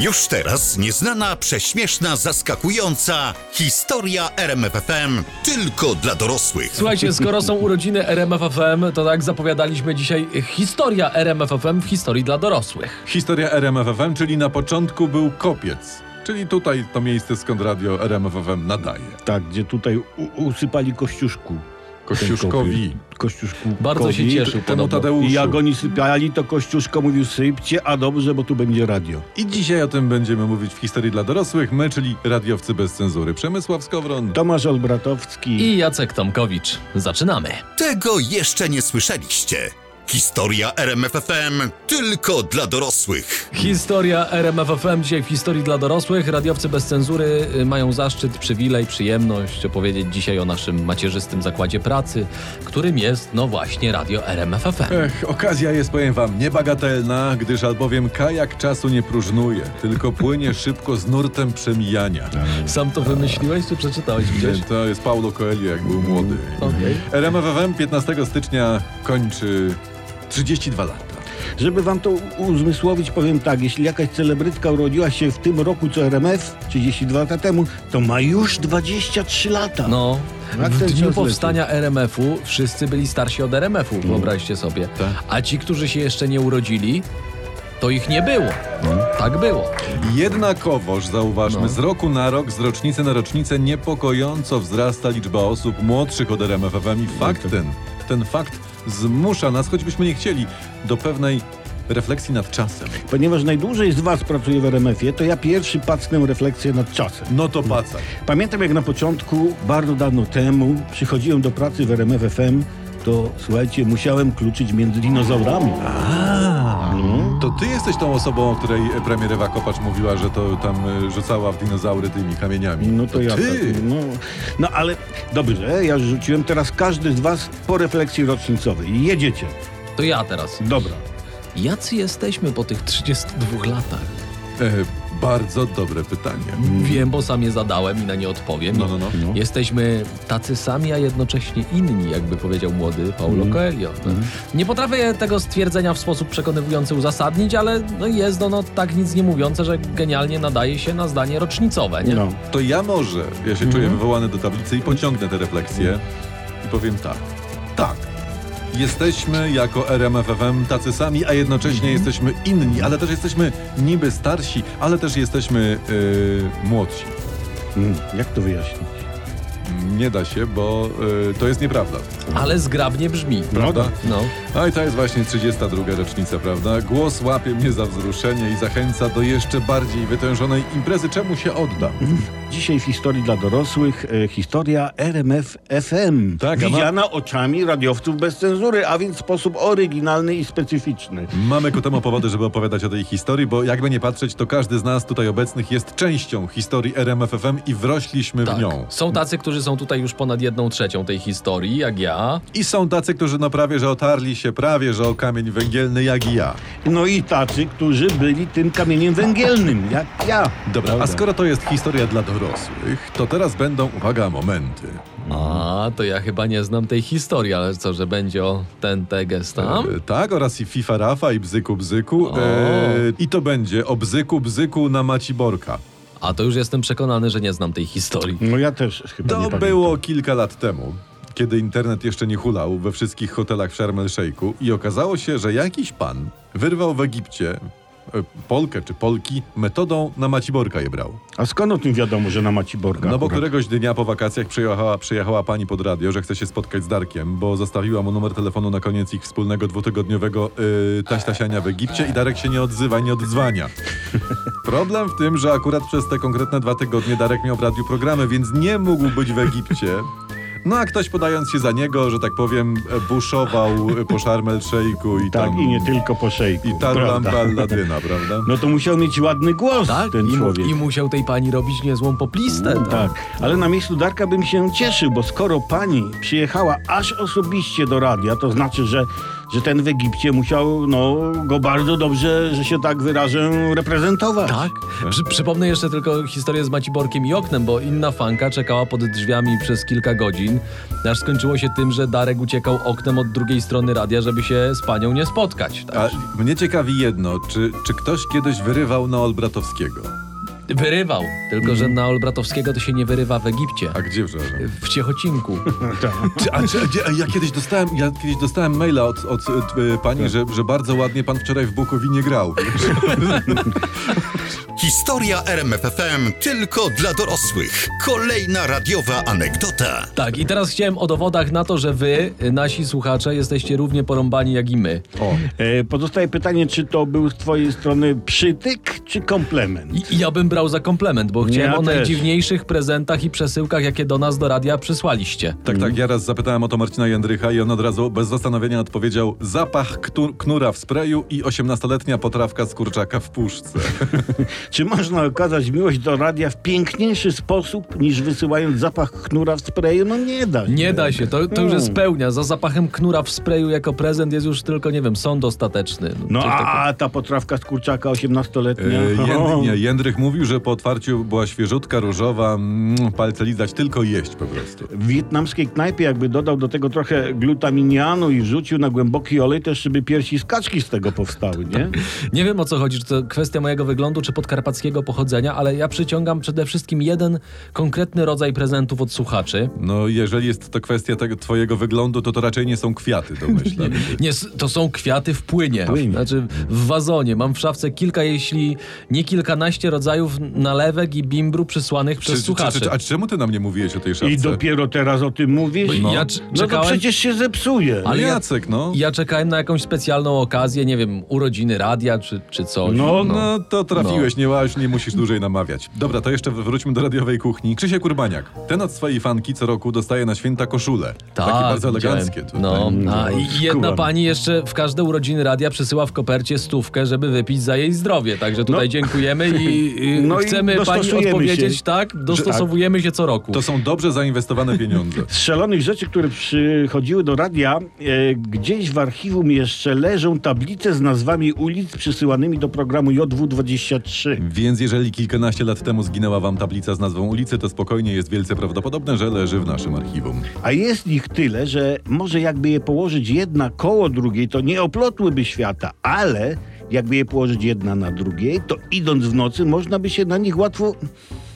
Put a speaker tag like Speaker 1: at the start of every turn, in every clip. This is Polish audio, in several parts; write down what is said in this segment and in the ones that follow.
Speaker 1: Już teraz nieznana, prześmieszna, zaskakująca historia RMFFM tylko dla dorosłych.
Speaker 2: Słuchajcie, skoro są urodziny RMFFM, to tak zapowiadaliśmy dzisiaj historia RMFFM w historii dla dorosłych.
Speaker 3: Historia RMFFM, czyli na początku był kopiec. Czyli tutaj to miejsce, skąd radio RMFFM nadaje.
Speaker 4: Tak, gdzie tutaj u- usypali Kościuszku.
Speaker 3: Kościuszkowi.
Speaker 4: Kościuszku.
Speaker 2: Bardzo się cieszy
Speaker 3: Temu
Speaker 2: podobno.
Speaker 3: Tadeuszu.
Speaker 4: I jak oni sypiali, to Kościuszko mówił sypcie, a dobrze, bo tu będzie radio.
Speaker 3: I dzisiaj o tym będziemy mówić w historii dla dorosłych. My, czyli radiowcy bez cenzury. Przemysław Skowron.
Speaker 4: Tomasz Olbratowski.
Speaker 2: I Jacek Tomkowicz. Zaczynamy.
Speaker 1: Tego jeszcze nie słyszeliście. Historia RMFFM tylko dla dorosłych.
Speaker 2: Historia RMFFM dzisiaj w historii dla dorosłych. Radiowcy bez cenzury y, mają zaszczyt, przywilej, przyjemność opowiedzieć dzisiaj o naszym macierzystym zakładzie pracy, którym jest, no właśnie, radio RMFFM.
Speaker 3: Ech, okazja jest, powiem wam, niebagatelna, gdyż albowiem kajak czasu nie próżnuje, tylko płynie szybko z nurtem przemijania.
Speaker 2: Sam to wymyśliłeś czy przeczytałeś gdzieś?
Speaker 3: Nie, To jest Paulo Coelho, jak był młody.
Speaker 2: Okej.
Speaker 3: RMFFM 15 stycznia kończy 32 lata.
Speaker 4: Żeby wam to u- uzmysłowić, powiem tak, jeśli jakaś celebrytka urodziła się w tym roku co RMF, 32 lata temu, to ma już 23 lata.
Speaker 2: No.
Speaker 4: Jak ten
Speaker 2: W dniu
Speaker 4: czas
Speaker 2: powstania RMF-u wszyscy byli starsi od RMF-u, wyobraźcie sobie.
Speaker 3: Mm. Tak.
Speaker 2: A ci, którzy się jeszcze nie urodzili, to ich nie było.
Speaker 3: Mm.
Speaker 2: Tak było.
Speaker 3: Jednakowoż, zauważmy,
Speaker 2: No.
Speaker 3: z roku na rok, z rocznicy na rocznicę niepokojąco wzrasta liczba osób młodszych od RMFFM i
Speaker 4: Tak,
Speaker 3: fakt ten, ten fakt zmusza nas, choćbyśmy nie chcieli, do pewnej refleksji nad czasem.
Speaker 4: Ponieważ najdłużej z was pracuje w RMF-ie, to ja pierwszy pacnę refleksję nad czasem.
Speaker 3: No to pacaj.
Speaker 4: Pamiętam jak na początku, bardzo dawno temu, przychodziłem do pracy w RMF FM, to słuchajcie, musiałem kluczyć między dinozaurami.
Speaker 3: To ty jesteś tą osobą, o której premier Ewa Kopacz mówiła, że to tam y, rzucała w dinozaury tymi kamieniami.
Speaker 4: No to ja.
Speaker 3: Ty!
Speaker 4: tak, No, no ale dobrze, ja rzuciłem teraz każdy z was po refleksji rocznicowej. Jedziecie.
Speaker 2: To ja teraz.
Speaker 4: Dobra.
Speaker 2: Jacy jesteśmy po tych 32 latach?
Speaker 4: tak.
Speaker 3: E, bardzo dobre pytanie.
Speaker 2: Wiem, bo sam je zadałem i na nie odpowiem.
Speaker 3: Mm. No, no, no.
Speaker 2: Jesteśmy tacy sami, a jednocześnie inni, jakby powiedział młody Paulo
Speaker 3: Mm.
Speaker 2: Coelho. Nie potrafię tego stwierdzenia w sposób przekonywujący uzasadnić, ale no jest ono tak nic nie mówiące, że genialnie nadaje się na zdanie rocznicowe. Nie?
Speaker 4: No.
Speaker 3: To ja może, ja się czuję wywołany do tablicy i pociągnę te refleksje i powiem tak. Tak. Jesteśmy jako RMFFM tacy sami, a jednocześnie jesteśmy inni, ale też jesteśmy niby starsi, ale też jesteśmy y, młodsi.
Speaker 4: Mm, Jak to wyjaśnić?
Speaker 3: Nie da się, bo y, to jest nieprawda.
Speaker 2: Ale zgrabnie brzmi.
Speaker 3: Prawda?
Speaker 2: No.
Speaker 3: No i to jest właśnie 32 rocznica, prawda? Głos łapie mnie za wzruszenie i zachęca do jeszcze bardziej wytężonej imprezy, czemu się oddam.
Speaker 4: Dzisiaj w historii dla dorosłych e, historia RMF FM.
Speaker 3: Tak, a ma-
Speaker 4: Widziana oczami radiowców bez cenzury, a więc w sposób oryginalny i specyficzny.
Speaker 3: Mamy ku temu powody, żeby opowiadać o tej historii, bo jakby nie patrzeć, to każdy z nas tutaj obecnych jest częścią historii RMFFM i wrośliśmy w
Speaker 2: Tak.
Speaker 4: No.
Speaker 3: nią.
Speaker 2: Są tacy, którzy są tutaj już ponad jedną trzecią tej historii, jak ja.
Speaker 3: I są tacy, którzy no prawie, że otarli się prawie, że o kamień węgielny, jak i ja.
Speaker 4: No i tacy, którzy byli tym kamieniem węgielnym, jak ja.
Speaker 3: Dobra, a skoro to jest historia dla dorosłych, to teraz będą, uwaga, momenty.
Speaker 2: A, to ja chyba nie znam tej historii, ale co, że będzie o ten teges tam?
Speaker 3: E, Tak, oraz i FIFA Rafa i Bzyku Bzyku. E, I to będzie o Bzyku Bzyku na Maciborka.
Speaker 2: A to już jestem przekonany, że nie znam tej historii.
Speaker 4: No ja też chyba nie
Speaker 3: To
Speaker 4: pamiętam.
Speaker 3: było kilka lat temu, kiedy internet jeszcze nie hulał we wszystkich hotelach w Sharm el Sheikhu i okazało się, że jakiś pan wyrwał w Egipcie e, Polkę czy Polki metodą na Maciborka je brał.
Speaker 4: A skąd o tym wiadomo, że na Maciborga?
Speaker 3: No bo
Speaker 4: akurat?
Speaker 3: któregoś dnia po wakacjach przyjechała, przyjechała pani pod radio, że chce się spotkać z Darkiem, bo zostawiła mu numer telefonu na koniec ich wspólnego dwutygodniowego yy, taśtasiania w Egipcie i Darek się nie odzywa, i nie oddzwania. Problem w tym, że akurat przez te konkretne dwa tygodnie Darek miał w radiu programy, więc nie mógł być w Egipcie. No a ktoś podając się za niego, że tak powiem, e, buszował e, po Sharm el Sheikhu i
Speaker 4: Tak,
Speaker 3: tam...
Speaker 4: i nie tylko po szejku.
Speaker 3: I tarlam
Speaker 4: prawda?
Speaker 3: balladyna, prawda?
Speaker 4: No to musiał mieć ładny głos
Speaker 3: Tak,
Speaker 4: ten
Speaker 2: Tak? I, mu-
Speaker 4: człowiek.
Speaker 2: I musiał tej pani robić niezłą poplistę. tak.
Speaker 4: Tak, ale na miejscu Darka bym się cieszył, bo skoro pani przyjechała aż osobiście do radia, to znaczy, że że ten w Egipcie musiał no, go bardzo dobrze, że się tak wyrażę, reprezentować.
Speaker 2: Tak. Przy, przypomnę jeszcze tylko historię z Maciborkiem i oknem, bo inna fanka czekała pod drzwiami przez kilka godzin, aż skończyło się tym, że Darek uciekał oknem od drugiej strony radia, żeby się z panią nie spotkać.
Speaker 3: A
Speaker 2: Tak?
Speaker 3: mnie ciekawi jedno, czy, czy ktoś kiedyś wyrywał na Olbratowskiego?
Speaker 2: Wyrywał. Tylko,
Speaker 4: Mhm.
Speaker 2: że na Olbratowskiego to się nie wyrywa w Egipcie.
Speaker 3: A gdzie wrzeże?
Speaker 2: W Ciechocinku.
Speaker 3: Czy, a, czy, a, gdzie- a ja, kiedyś dostałem, ja kiedyś dostałem maila od, od, od y, pani,
Speaker 2: Tak.
Speaker 3: że, że bardzo ładnie pan wczoraj w Bukowinie grał.
Speaker 1: Historia RMFFM tylko dla dorosłych. Kolejna radiowa anegdota.
Speaker 2: Tak, i teraz chciałem o dowodach na to, że wy, nasi słuchacze, jesteście równie porąbani jak i my.
Speaker 3: O,
Speaker 4: E, pozostaje pytanie, czy to był z twojej strony przytyk, czy komplement?
Speaker 2: I, i ja bym brał za komplement, bo chciałem
Speaker 4: ja
Speaker 2: o
Speaker 4: też.
Speaker 2: najdziwniejszych prezentach i przesyłkach, jakie do nas do radia przysłaliście.
Speaker 3: tak, tak, ja raz zapytałem o to Marcina Jędrycha i on od razu bez zastanowienia odpowiedział zapach ktu- knura w sprayu i 18-letnia potrawka z kurczaka w puszce.
Speaker 4: Czy można okazać miłość do radia w piękniejszy sposób, niż wysyłając zapach knura w sprayu? No nie da się.
Speaker 2: Nie da się, to, to już
Speaker 4: Hmm.
Speaker 2: jest pełnia. Za zapachem knura w sprayu jako prezent jest już tylko, nie wiem, sąd ostateczny.
Speaker 4: No
Speaker 2: Coś tak- takiego.
Speaker 4: a ta potrawka z kurczaka 18-letnia.
Speaker 3: E,
Speaker 2: No.
Speaker 3: Jęd, nie, Jędrych mówił, że po otwarciu była świeżutka, różowa, mm, palce lizać, tylko jeść po prostu.
Speaker 4: W wietnamskiej knajpie jakby dodał do tego trochę glutaminianu i wrzucił na głęboki olej też, żeby piersi z kaczki z tego powstały, nie?
Speaker 2: Nie wiem o co chodzi, czy to kwestia mojego wyglądu, czy podkarpackiego pochodzenia, ale ja przyciągam przede wszystkim jeden konkretny rodzaj prezentów od słuchaczy.
Speaker 3: No, jeżeli jest to kwestia tego twojego wyglądu, to to raczej nie są kwiaty, to myślę.
Speaker 2: Nie, s- to są kwiaty w płynie.
Speaker 4: płynie.
Speaker 2: Znaczy w wazonie. Mam w szafce kilka, jeśli nie kilkanaście rodzajów nalewek i bimbru przysłanych
Speaker 3: Czy,
Speaker 2: przez
Speaker 3: czy, czy,
Speaker 2: słuchaczy.
Speaker 3: czy, a czemu ty nam nie mówiłeś o tej szafce?
Speaker 4: I dopiero teraz o tym mówisz?
Speaker 2: Bo
Speaker 4: No,
Speaker 2: ja c-
Speaker 4: no to
Speaker 2: czekałem-
Speaker 4: przecież się zepsuje.
Speaker 2: Ale
Speaker 3: Ale
Speaker 2: ja-
Speaker 3: Jacek, no.
Speaker 2: Ja czekałem na jakąś specjalną okazję, nie wiem, urodziny radia czy, czy coś.
Speaker 4: No,
Speaker 3: No to trafiłeś, nie łaś, nie musisz dłużej namawiać. Dobra, to jeszcze wróćmy do radiowej kuchni. Krzysiek Urbaniak. Ten od swojej fanki co roku dostaje na święta koszulę. Takie bardzo
Speaker 2: Tak, widziałem.
Speaker 3: eleganckie. tutaj.
Speaker 2: No, a
Speaker 4: No,
Speaker 2: i jedna
Speaker 4: skumam.
Speaker 2: pani jeszcze w każde urodziny radia przysyła w kopercie stówkę, żeby wypić za jej zdrowie. Także tutaj
Speaker 4: No.
Speaker 2: dziękujemy i, i
Speaker 4: No i
Speaker 2: chcemy pani
Speaker 4: dostosujemy
Speaker 2: odpowiedzieć,
Speaker 4: się.
Speaker 2: tak? Dostosowujemy się co roku.
Speaker 3: To są dobrze zainwestowane pieniądze.
Speaker 4: strzelonych rzeczy, które przychodziły do radia, e, gdzieś w archiwum jeszcze leżą tablice z nazwami ulic przysyłanymi do programu JW23.
Speaker 3: Więc jeżeli kilkanaście lat temu zginęła wam tablica z nazwą ulicy, to spokojnie jest wielce prawdopodobne, że leży w naszym archiwum.
Speaker 4: A jest ich tyle, że może jakby je położyć jedna koło drugiej, to nie oplotłyby świata, ale jakby je położyć jedna na drugiej, to idąc w nocy można by się na nich łatwo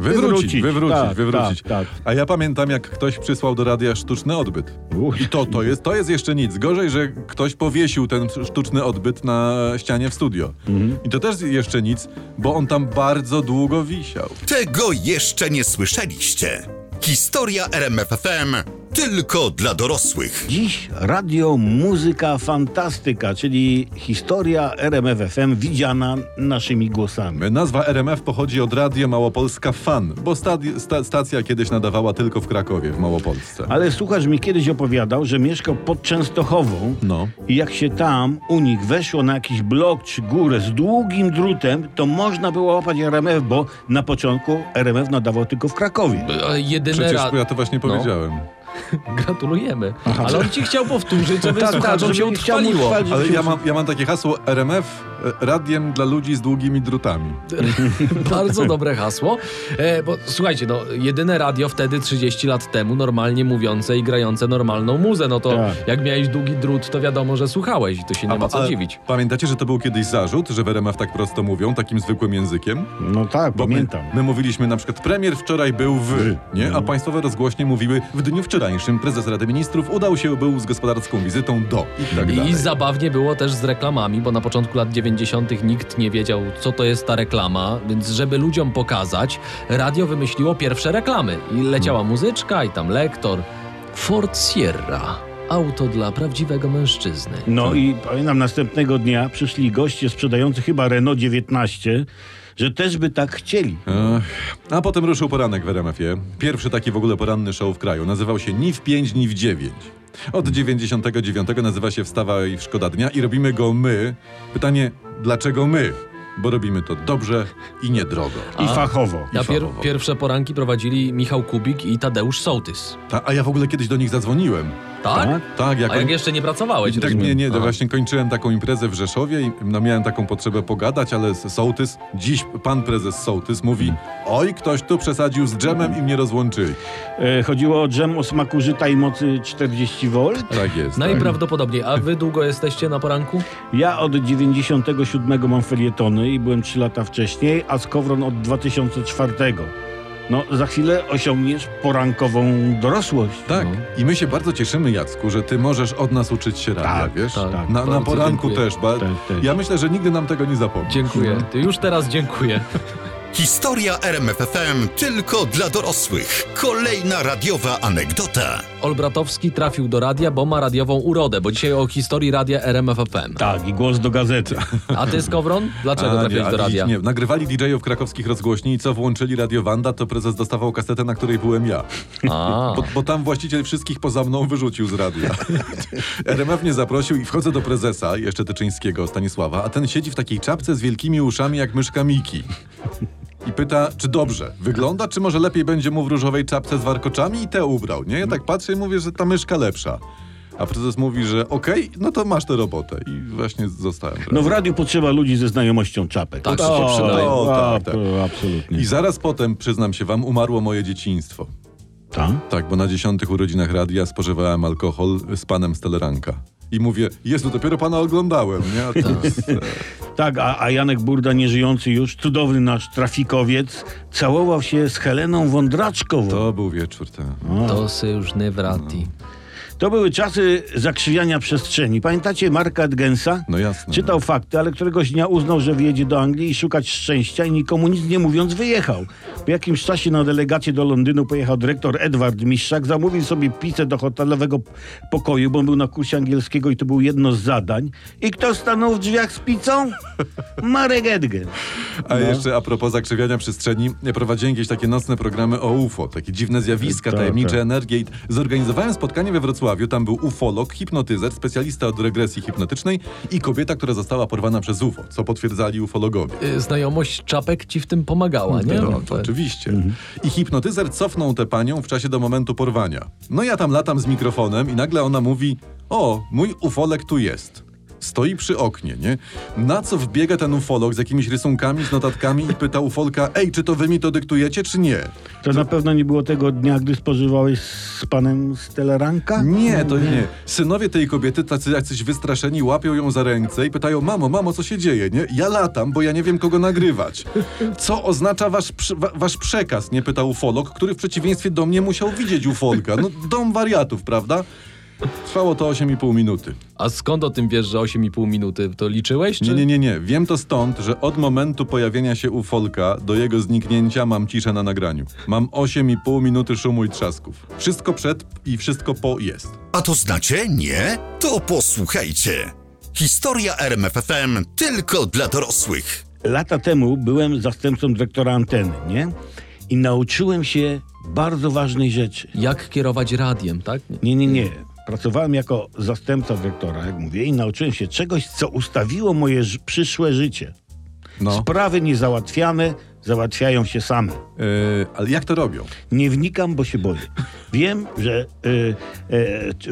Speaker 3: Wywrócić, wywrócić,
Speaker 4: Tak,
Speaker 3: wywrócić.
Speaker 4: Tak,
Speaker 3: A ja pamiętam, jak ktoś przysłał do radia sztuczny odbyt.
Speaker 4: tak. Uch.
Speaker 3: I to, to, jest, to jest jeszcze nic. Gorzej, że ktoś powiesił ten sztuczny odbyt na ścianie w studio.
Speaker 4: Mhm.
Speaker 3: I to też jeszcze nic, bo on tam bardzo długo wisiał.
Speaker 1: Tego jeszcze nie słyszeliście. Historia RMFFM tylko dla dorosłych.
Speaker 4: Dziś radio, muzyka, fantastyka, czyli historia RMFFM widziana naszymi głosami.
Speaker 3: Nazwa RMF pochodzi od Radia Małopolska Fan, bo stadi- sta- stacja kiedyś nadawała tylko w Krakowie, w Małopolsce.
Speaker 4: Ale słuchacz mi kiedyś opowiadał, że mieszkał pod Częstochową
Speaker 3: No.
Speaker 4: i jak się tam u nich weszło na jakiś blok czy górę z długim drutem, to można było łapać RMF, bo na początku RMF nadawał tylko w Krakowie.
Speaker 2: A Jedyne
Speaker 3: Przecież
Speaker 2: ra...
Speaker 3: ja to właśnie
Speaker 2: No.
Speaker 3: powiedziałem.
Speaker 2: Gratulujemy. Ale on ci chciał powtórzyć, żeby
Speaker 4: Tak, tak,
Speaker 2: słuchaczom
Speaker 4: żeby
Speaker 2: się
Speaker 4: nie chciał mu
Speaker 2: utrwaliło.
Speaker 4: utrwalić,
Speaker 3: Ale
Speaker 4: żeby
Speaker 3: ja
Speaker 4: się-
Speaker 3: mam, ja mam takie hasło RMF, e, radiem dla ludzi z długimi drutami.
Speaker 2: Bardzo dobre hasło. E, bo słuchajcie, no, jedyne radio wtedy 30 lat temu normalnie mówiące i grające normalną muzę. No to
Speaker 4: Tak.
Speaker 2: jak miałeś długi drut, to wiadomo, że słuchałeś i to się nie
Speaker 3: A
Speaker 2: ma
Speaker 3: pa-
Speaker 2: co
Speaker 3: ale
Speaker 2: dziwić.
Speaker 3: Pamiętacie, że to był kiedyś zarzut, że w RMF tak prosto mówią, takim zwykłym językiem?
Speaker 4: No tak,
Speaker 3: Bo
Speaker 4: pamiętam.
Speaker 3: My, my mówiliśmy na przykład, premier wczoraj był w, nie? A państwowe rozgłośnie mówiły, w dniu wczorajszym prezes Rady Ministrów udał się był z gospodarską wizytą do i tak dalej.
Speaker 2: I zabawnie było też z reklamami, bo na początku lat 90. nikt nie wiedział, co to jest ta reklama, więc żeby ludziom pokazać, radio wymyśliło pierwsze reklamy. I leciała muzyczka i tam lektor. Ford Sierra. Auto dla prawdziwego mężczyzny.
Speaker 4: No i pamiętam, następnego dnia przyszli goście sprzedający chyba Renault 19, że też by tak chcieli.
Speaker 3: Ech. A potem ruszył poranek w RMF-ie. Pierwszy taki w ogóle poranny show w kraju. Nazywał się Ni w 5, ni w 9. Od 99 nazywa się Wstawaj Szkoda Dnia i robimy go my. Pytanie, dlaczego my? Bo robimy to dobrze i niedrogo.
Speaker 4: I fachowo.
Speaker 2: Na
Speaker 3: I
Speaker 2: pier
Speaker 3: fachowo.
Speaker 2: pierwsze poranki prowadzili Michał Kubik i Tadeusz Sołtys.
Speaker 3: Ta, a ja w ogóle kiedyś do nich zadzwoniłem
Speaker 2: Tak?
Speaker 4: Tak?
Speaker 3: Tak, jak
Speaker 2: A jak
Speaker 3: oni-
Speaker 2: jeszcze nie pracowałeś,
Speaker 3: tak,
Speaker 2: rozumiem.
Speaker 3: nie, nie, to
Speaker 2: Aha.
Speaker 3: właśnie kończyłem taką imprezę w Rzeszowie i no, miałem taką potrzebę pogadać, ale s- Sołtys, dziś pan prezes Sołtys mówi oj, ktoś tu przesadził z dżemem i mnie rozłączyli.
Speaker 4: E, chodziło o dżem o smaku żyta i mocy 40 V.
Speaker 3: Tak
Speaker 2: No
Speaker 3: jest. tak.
Speaker 2: Najprawdopodobniej. A wy długo jesteście na poranku?
Speaker 4: Ja od 97 mam felietony i byłem 3 lata wcześniej, a Skowron od 2004. No, za chwilę osiągniesz porankową dorosłość.
Speaker 3: Tak.
Speaker 2: no.
Speaker 3: I my się bardzo cieszymy, Jacku, że ty możesz od nas uczyć się radia,
Speaker 4: Tak,
Speaker 3: wiesz?
Speaker 2: tak.
Speaker 3: na, na
Speaker 2: Bardzo
Speaker 3: poranku
Speaker 2: dziękuję.
Speaker 3: też. Ba-
Speaker 4: Tak, tak.
Speaker 3: Ja myślę, że nigdy nam tego nie zapomnisz.
Speaker 2: Dziękuję. Ty już teraz dziękuję.
Speaker 1: Historia RMFFM tylko dla dorosłych. Kolejna radiowa anegdota.
Speaker 2: Olbratowski trafił do radia, bo ma radiową urodę, bo dzisiaj o historii radia RMFFM.
Speaker 4: Tak, i głos do gazety.
Speaker 2: A ty, Skowron? Dlaczego
Speaker 3: A,
Speaker 2: trafiłeś
Speaker 3: a
Speaker 2: do radia?
Speaker 3: Nie, nagrywali DJ-ów krakowskich rozgłośni i co włączyli Radio Wanda, to prezes dostawał kasetę, na której byłem ja.
Speaker 2: A.
Speaker 3: Bo, bo tam właściciel wszystkich poza mną wyrzucił z radia. RMF mnie zaprosił i wchodzę do prezesa, jeszcze Tyczyńskiego, Stanisława, a ten siedzi w takiej czapce z wielkimi uszami jak myszka Miki. I pyta, czy dobrze wygląda, czy może lepiej będzie mu w różowej czapce z warkoczami i te ubrał, nie? Ja tak patrzę i mówię, że ta myszka lepsza. A prezes mówi, że okej, no to masz tę robotę. I właśnie zostałem.
Speaker 4: No w radiu potrzeba ludzi ze znajomością czapek.
Speaker 2: Tak, się przydają.
Speaker 4: o,
Speaker 3: Tak, tak.
Speaker 4: a, Absolutnie.
Speaker 3: I zaraz potem, przyznam się wam, umarło moje dzieciństwo.
Speaker 4: Tak?
Speaker 3: Tak, bo na dziesiątych urodzinach radia spożywałem alkohol z panem z Teleranka. I mówię, Jezu, dopiero pana oglądałem, nie? A to jest, e,
Speaker 4: Tak, a, a Janek Burda, nieżyjący już, cudowny nasz trafikowiec, całował się z Heleną Wądraczkową. To,
Speaker 3: to był wieczór tak. ten.
Speaker 2: To se już nie wrati.
Speaker 4: były czasy zakrzywiania przestrzeni. Pamiętacie Marka Edgensa?
Speaker 3: No jasne.
Speaker 4: Czytał fakty, ale któregoś dnia uznał, że wjedzie do Anglii i szukać szczęścia i nikomu nic nie mówiąc wyjechał. Po jakimś czasie na delegację do Londynu pojechał dyrektor Edward Mistrzak, zamówił sobie pizzę do hotelowego pokoju, bo był na kursie angielskiego i to było jedno z zadań. I kto stanął w drzwiach z pizzą? Marek Edgens.
Speaker 3: A
Speaker 4: No.
Speaker 3: jeszcze a propos zakrzywiania przestrzeni, ja prowadziłem jakieś takie nocne programy o UFO, takie dziwne zjawiska,
Speaker 4: Tak,
Speaker 3: tajemnicze
Speaker 4: tak.
Speaker 3: energie. I zorganizowałem spotkanie we Wrocławiu, tam był ufolog, hipnotyzer, specjalista od regresji hipnotycznej i kobieta, która została porwana przez UFO, co potwierdzali ufologowie.
Speaker 2: Y, Znajomość czapek ci w tym pomagała, nie?
Speaker 3: No, to oczywiście. I hipnotyzer cofnął tę panią w czasie do momentu porwania. No ja tam latam z mikrofonem i nagle ona mówi: O, mój ufolek tu jest. Stoi przy oknie, nie? Na co wbiega ten ufolog z jakimiś rysunkami, z notatkami i pyta ufolka: Ej, czy to wy mi to dyktujecie, czy nie?
Speaker 4: To na pewno nie było tego dnia, gdy spożywałeś z panem z teleranka?
Speaker 3: Nie, to nie. Synowie tej kobiety, tacy jacyś wystraszeni, łapią ją za ręce i pytają: Mamo, mamo, co się dzieje, nie? Ja latam, bo ja nie wiem, kogo nagrywać. Co oznacza wasz, przy- wa- wasz przekaz? Nie pytał ufolog, który w przeciwieństwie do mnie musiał widzieć ufolka. No, dom wariatów, prawda? Trwało to 8,5 minuty.
Speaker 2: A skąd o tym wiesz, że 8,5 minuty? To liczyłeś? Czy...
Speaker 3: Nie, nie, nie, nie. Wiem to stąd, że od momentu pojawienia się ufolka do jego zniknięcia mam ciszę na nagraniu. Mam 8,5 minuty szumu i trzasków. Wszystko przed i wszystko po jest.
Speaker 1: A to znacie nie? To posłuchajcie. Historia RMFFM tylko dla dorosłych.
Speaker 4: Lata temu byłem zastępcą dyrektora anteny, nie? I nauczyłem się bardzo ważnej rzeczy.
Speaker 2: Jak kierować radiem, tak? Nie.
Speaker 4: Nie, nie, nie. Pracowałem jako zastępca dyrektora, jak mówię, i nauczyłem się czegoś, co ustawiło moje ż- przyszłe życie.
Speaker 3: No.
Speaker 4: Sprawy niezałatwiane załatwiają się same.
Speaker 3: Yy, ale jak to robią?
Speaker 4: Nie wnikam, bo się boję. Wiem, że y,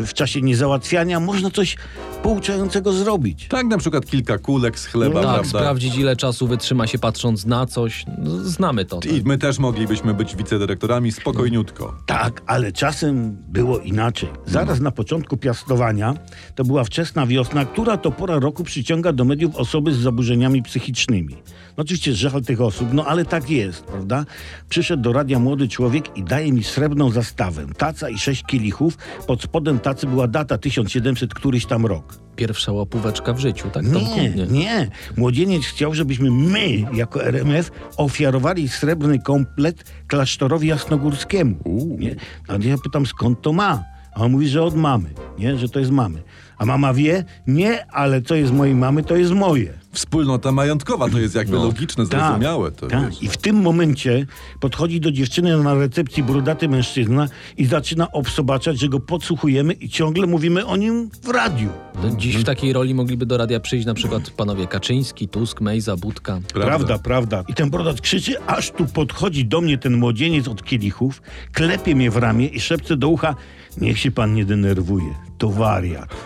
Speaker 4: y, w czasie niezałatwiania można coś pouczającego zrobić.
Speaker 3: Tak, na przykład kilka kulek z
Speaker 4: No
Speaker 2: tak,
Speaker 3: chleba, prawda?
Speaker 2: sprawdzić ile czasu wytrzyma się patrząc na coś. No, Znamy to. Tak.
Speaker 3: I my też moglibyśmy być wicedyrektorami spokojniutko.
Speaker 4: Tak, ale czasem było inaczej. Zaraz na początku piastowania, to była wczesna wiosna, która to pora roku przyciąga do mediów osoby z zaburzeniami psychicznymi. No oczywiście żal tych osób, no ale tak jest, prawda? Przyszedł do radia młody człowiek i daje mi srebrną zastawę, taca i sześć kielichów. Pod spodem tacy była data 1700 któryś tam rok.
Speaker 2: Pierwsza łapóweczka w życiu, tak? Tomku?
Speaker 4: Nie, No, nie. Młodzieniec chciał, żebyśmy my, jako RMF, ofiarowali srebrny komplet No, klasztorowi jasnogórskiemu. Nie? A ja pytam, skąd to ma? A on mówi, że od mamy. nie? że to jest mamy. A mama wie, nie, ale co jest mojej mamy, to jest moje.
Speaker 3: Wspólnota majątkowa to jest jakby logiczne, zrozumiałe. To
Speaker 4: No. tak.
Speaker 3: wiesz.
Speaker 4: I w tym momencie podchodzi do dziewczyny na recepcji brudaty mężczyzna i zaczyna obsobaczać, że go podsłuchujemy i ciągle mówimy o nim w radiu.
Speaker 2: No, dziś w takiej roli mogliby do radia przyjść na przykład panowie Kaczyński, Tusk, Mejza, Budka.
Speaker 4: Prawda, prawda. I ten brodat krzyczy, aż tu podchodzi do mnie ten młodzieniec od kielichów, klepie mnie w ramię i szepce do ucha, niech się pan nie denerwuje, to wariat.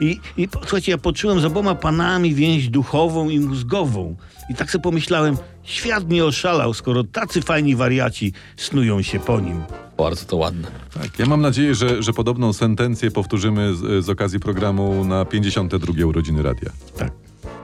Speaker 4: I, I po- słuchajcie, ja poczułem z oboma panami więź duchową i mózgową. I tak sobie pomyślałem, świat mnie oszalał, skoro tacy fajni wariaci snują się po nim.
Speaker 2: Bardzo to ładne.
Speaker 3: Tak. Ja mam nadzieję, że, że podobną sentencję powtórzymy z, z okazji programu na 52 urodziny radia.
Speaker 4: Tak.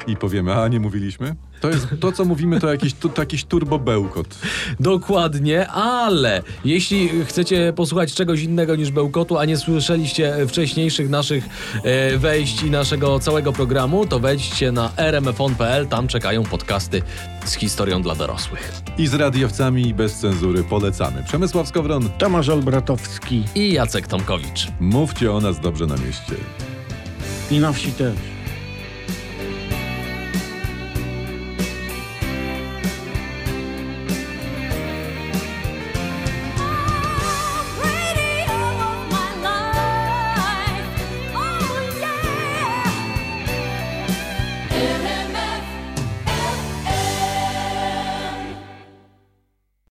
Speaker 3: I powiemy, a nie mówiliśmy? To jest to, co mówimy, to jakiś, to, to jakiś turbo bełkot.
Speaker 2: Dokładnie, ale jeśli chcecie posłuchać czegoś innego niż bełkotu, a nie słyszeliście wcześniejszych naszych e, wejść i naszego całego programu, to wejdźcie na rmfon.pl, tam czekają podcasty z historią dla dorosłych.
Speaker 3: I z radiowcami bez cenzury polecamy. Przemysław Skowron,
Speaker 4: Tomasz Olbratowski
Speaker 2: I Jacek Tomkowicz.
Speaker 3: mówcie o nas dobrze na mieście.
Speaker 4: i na wsi też.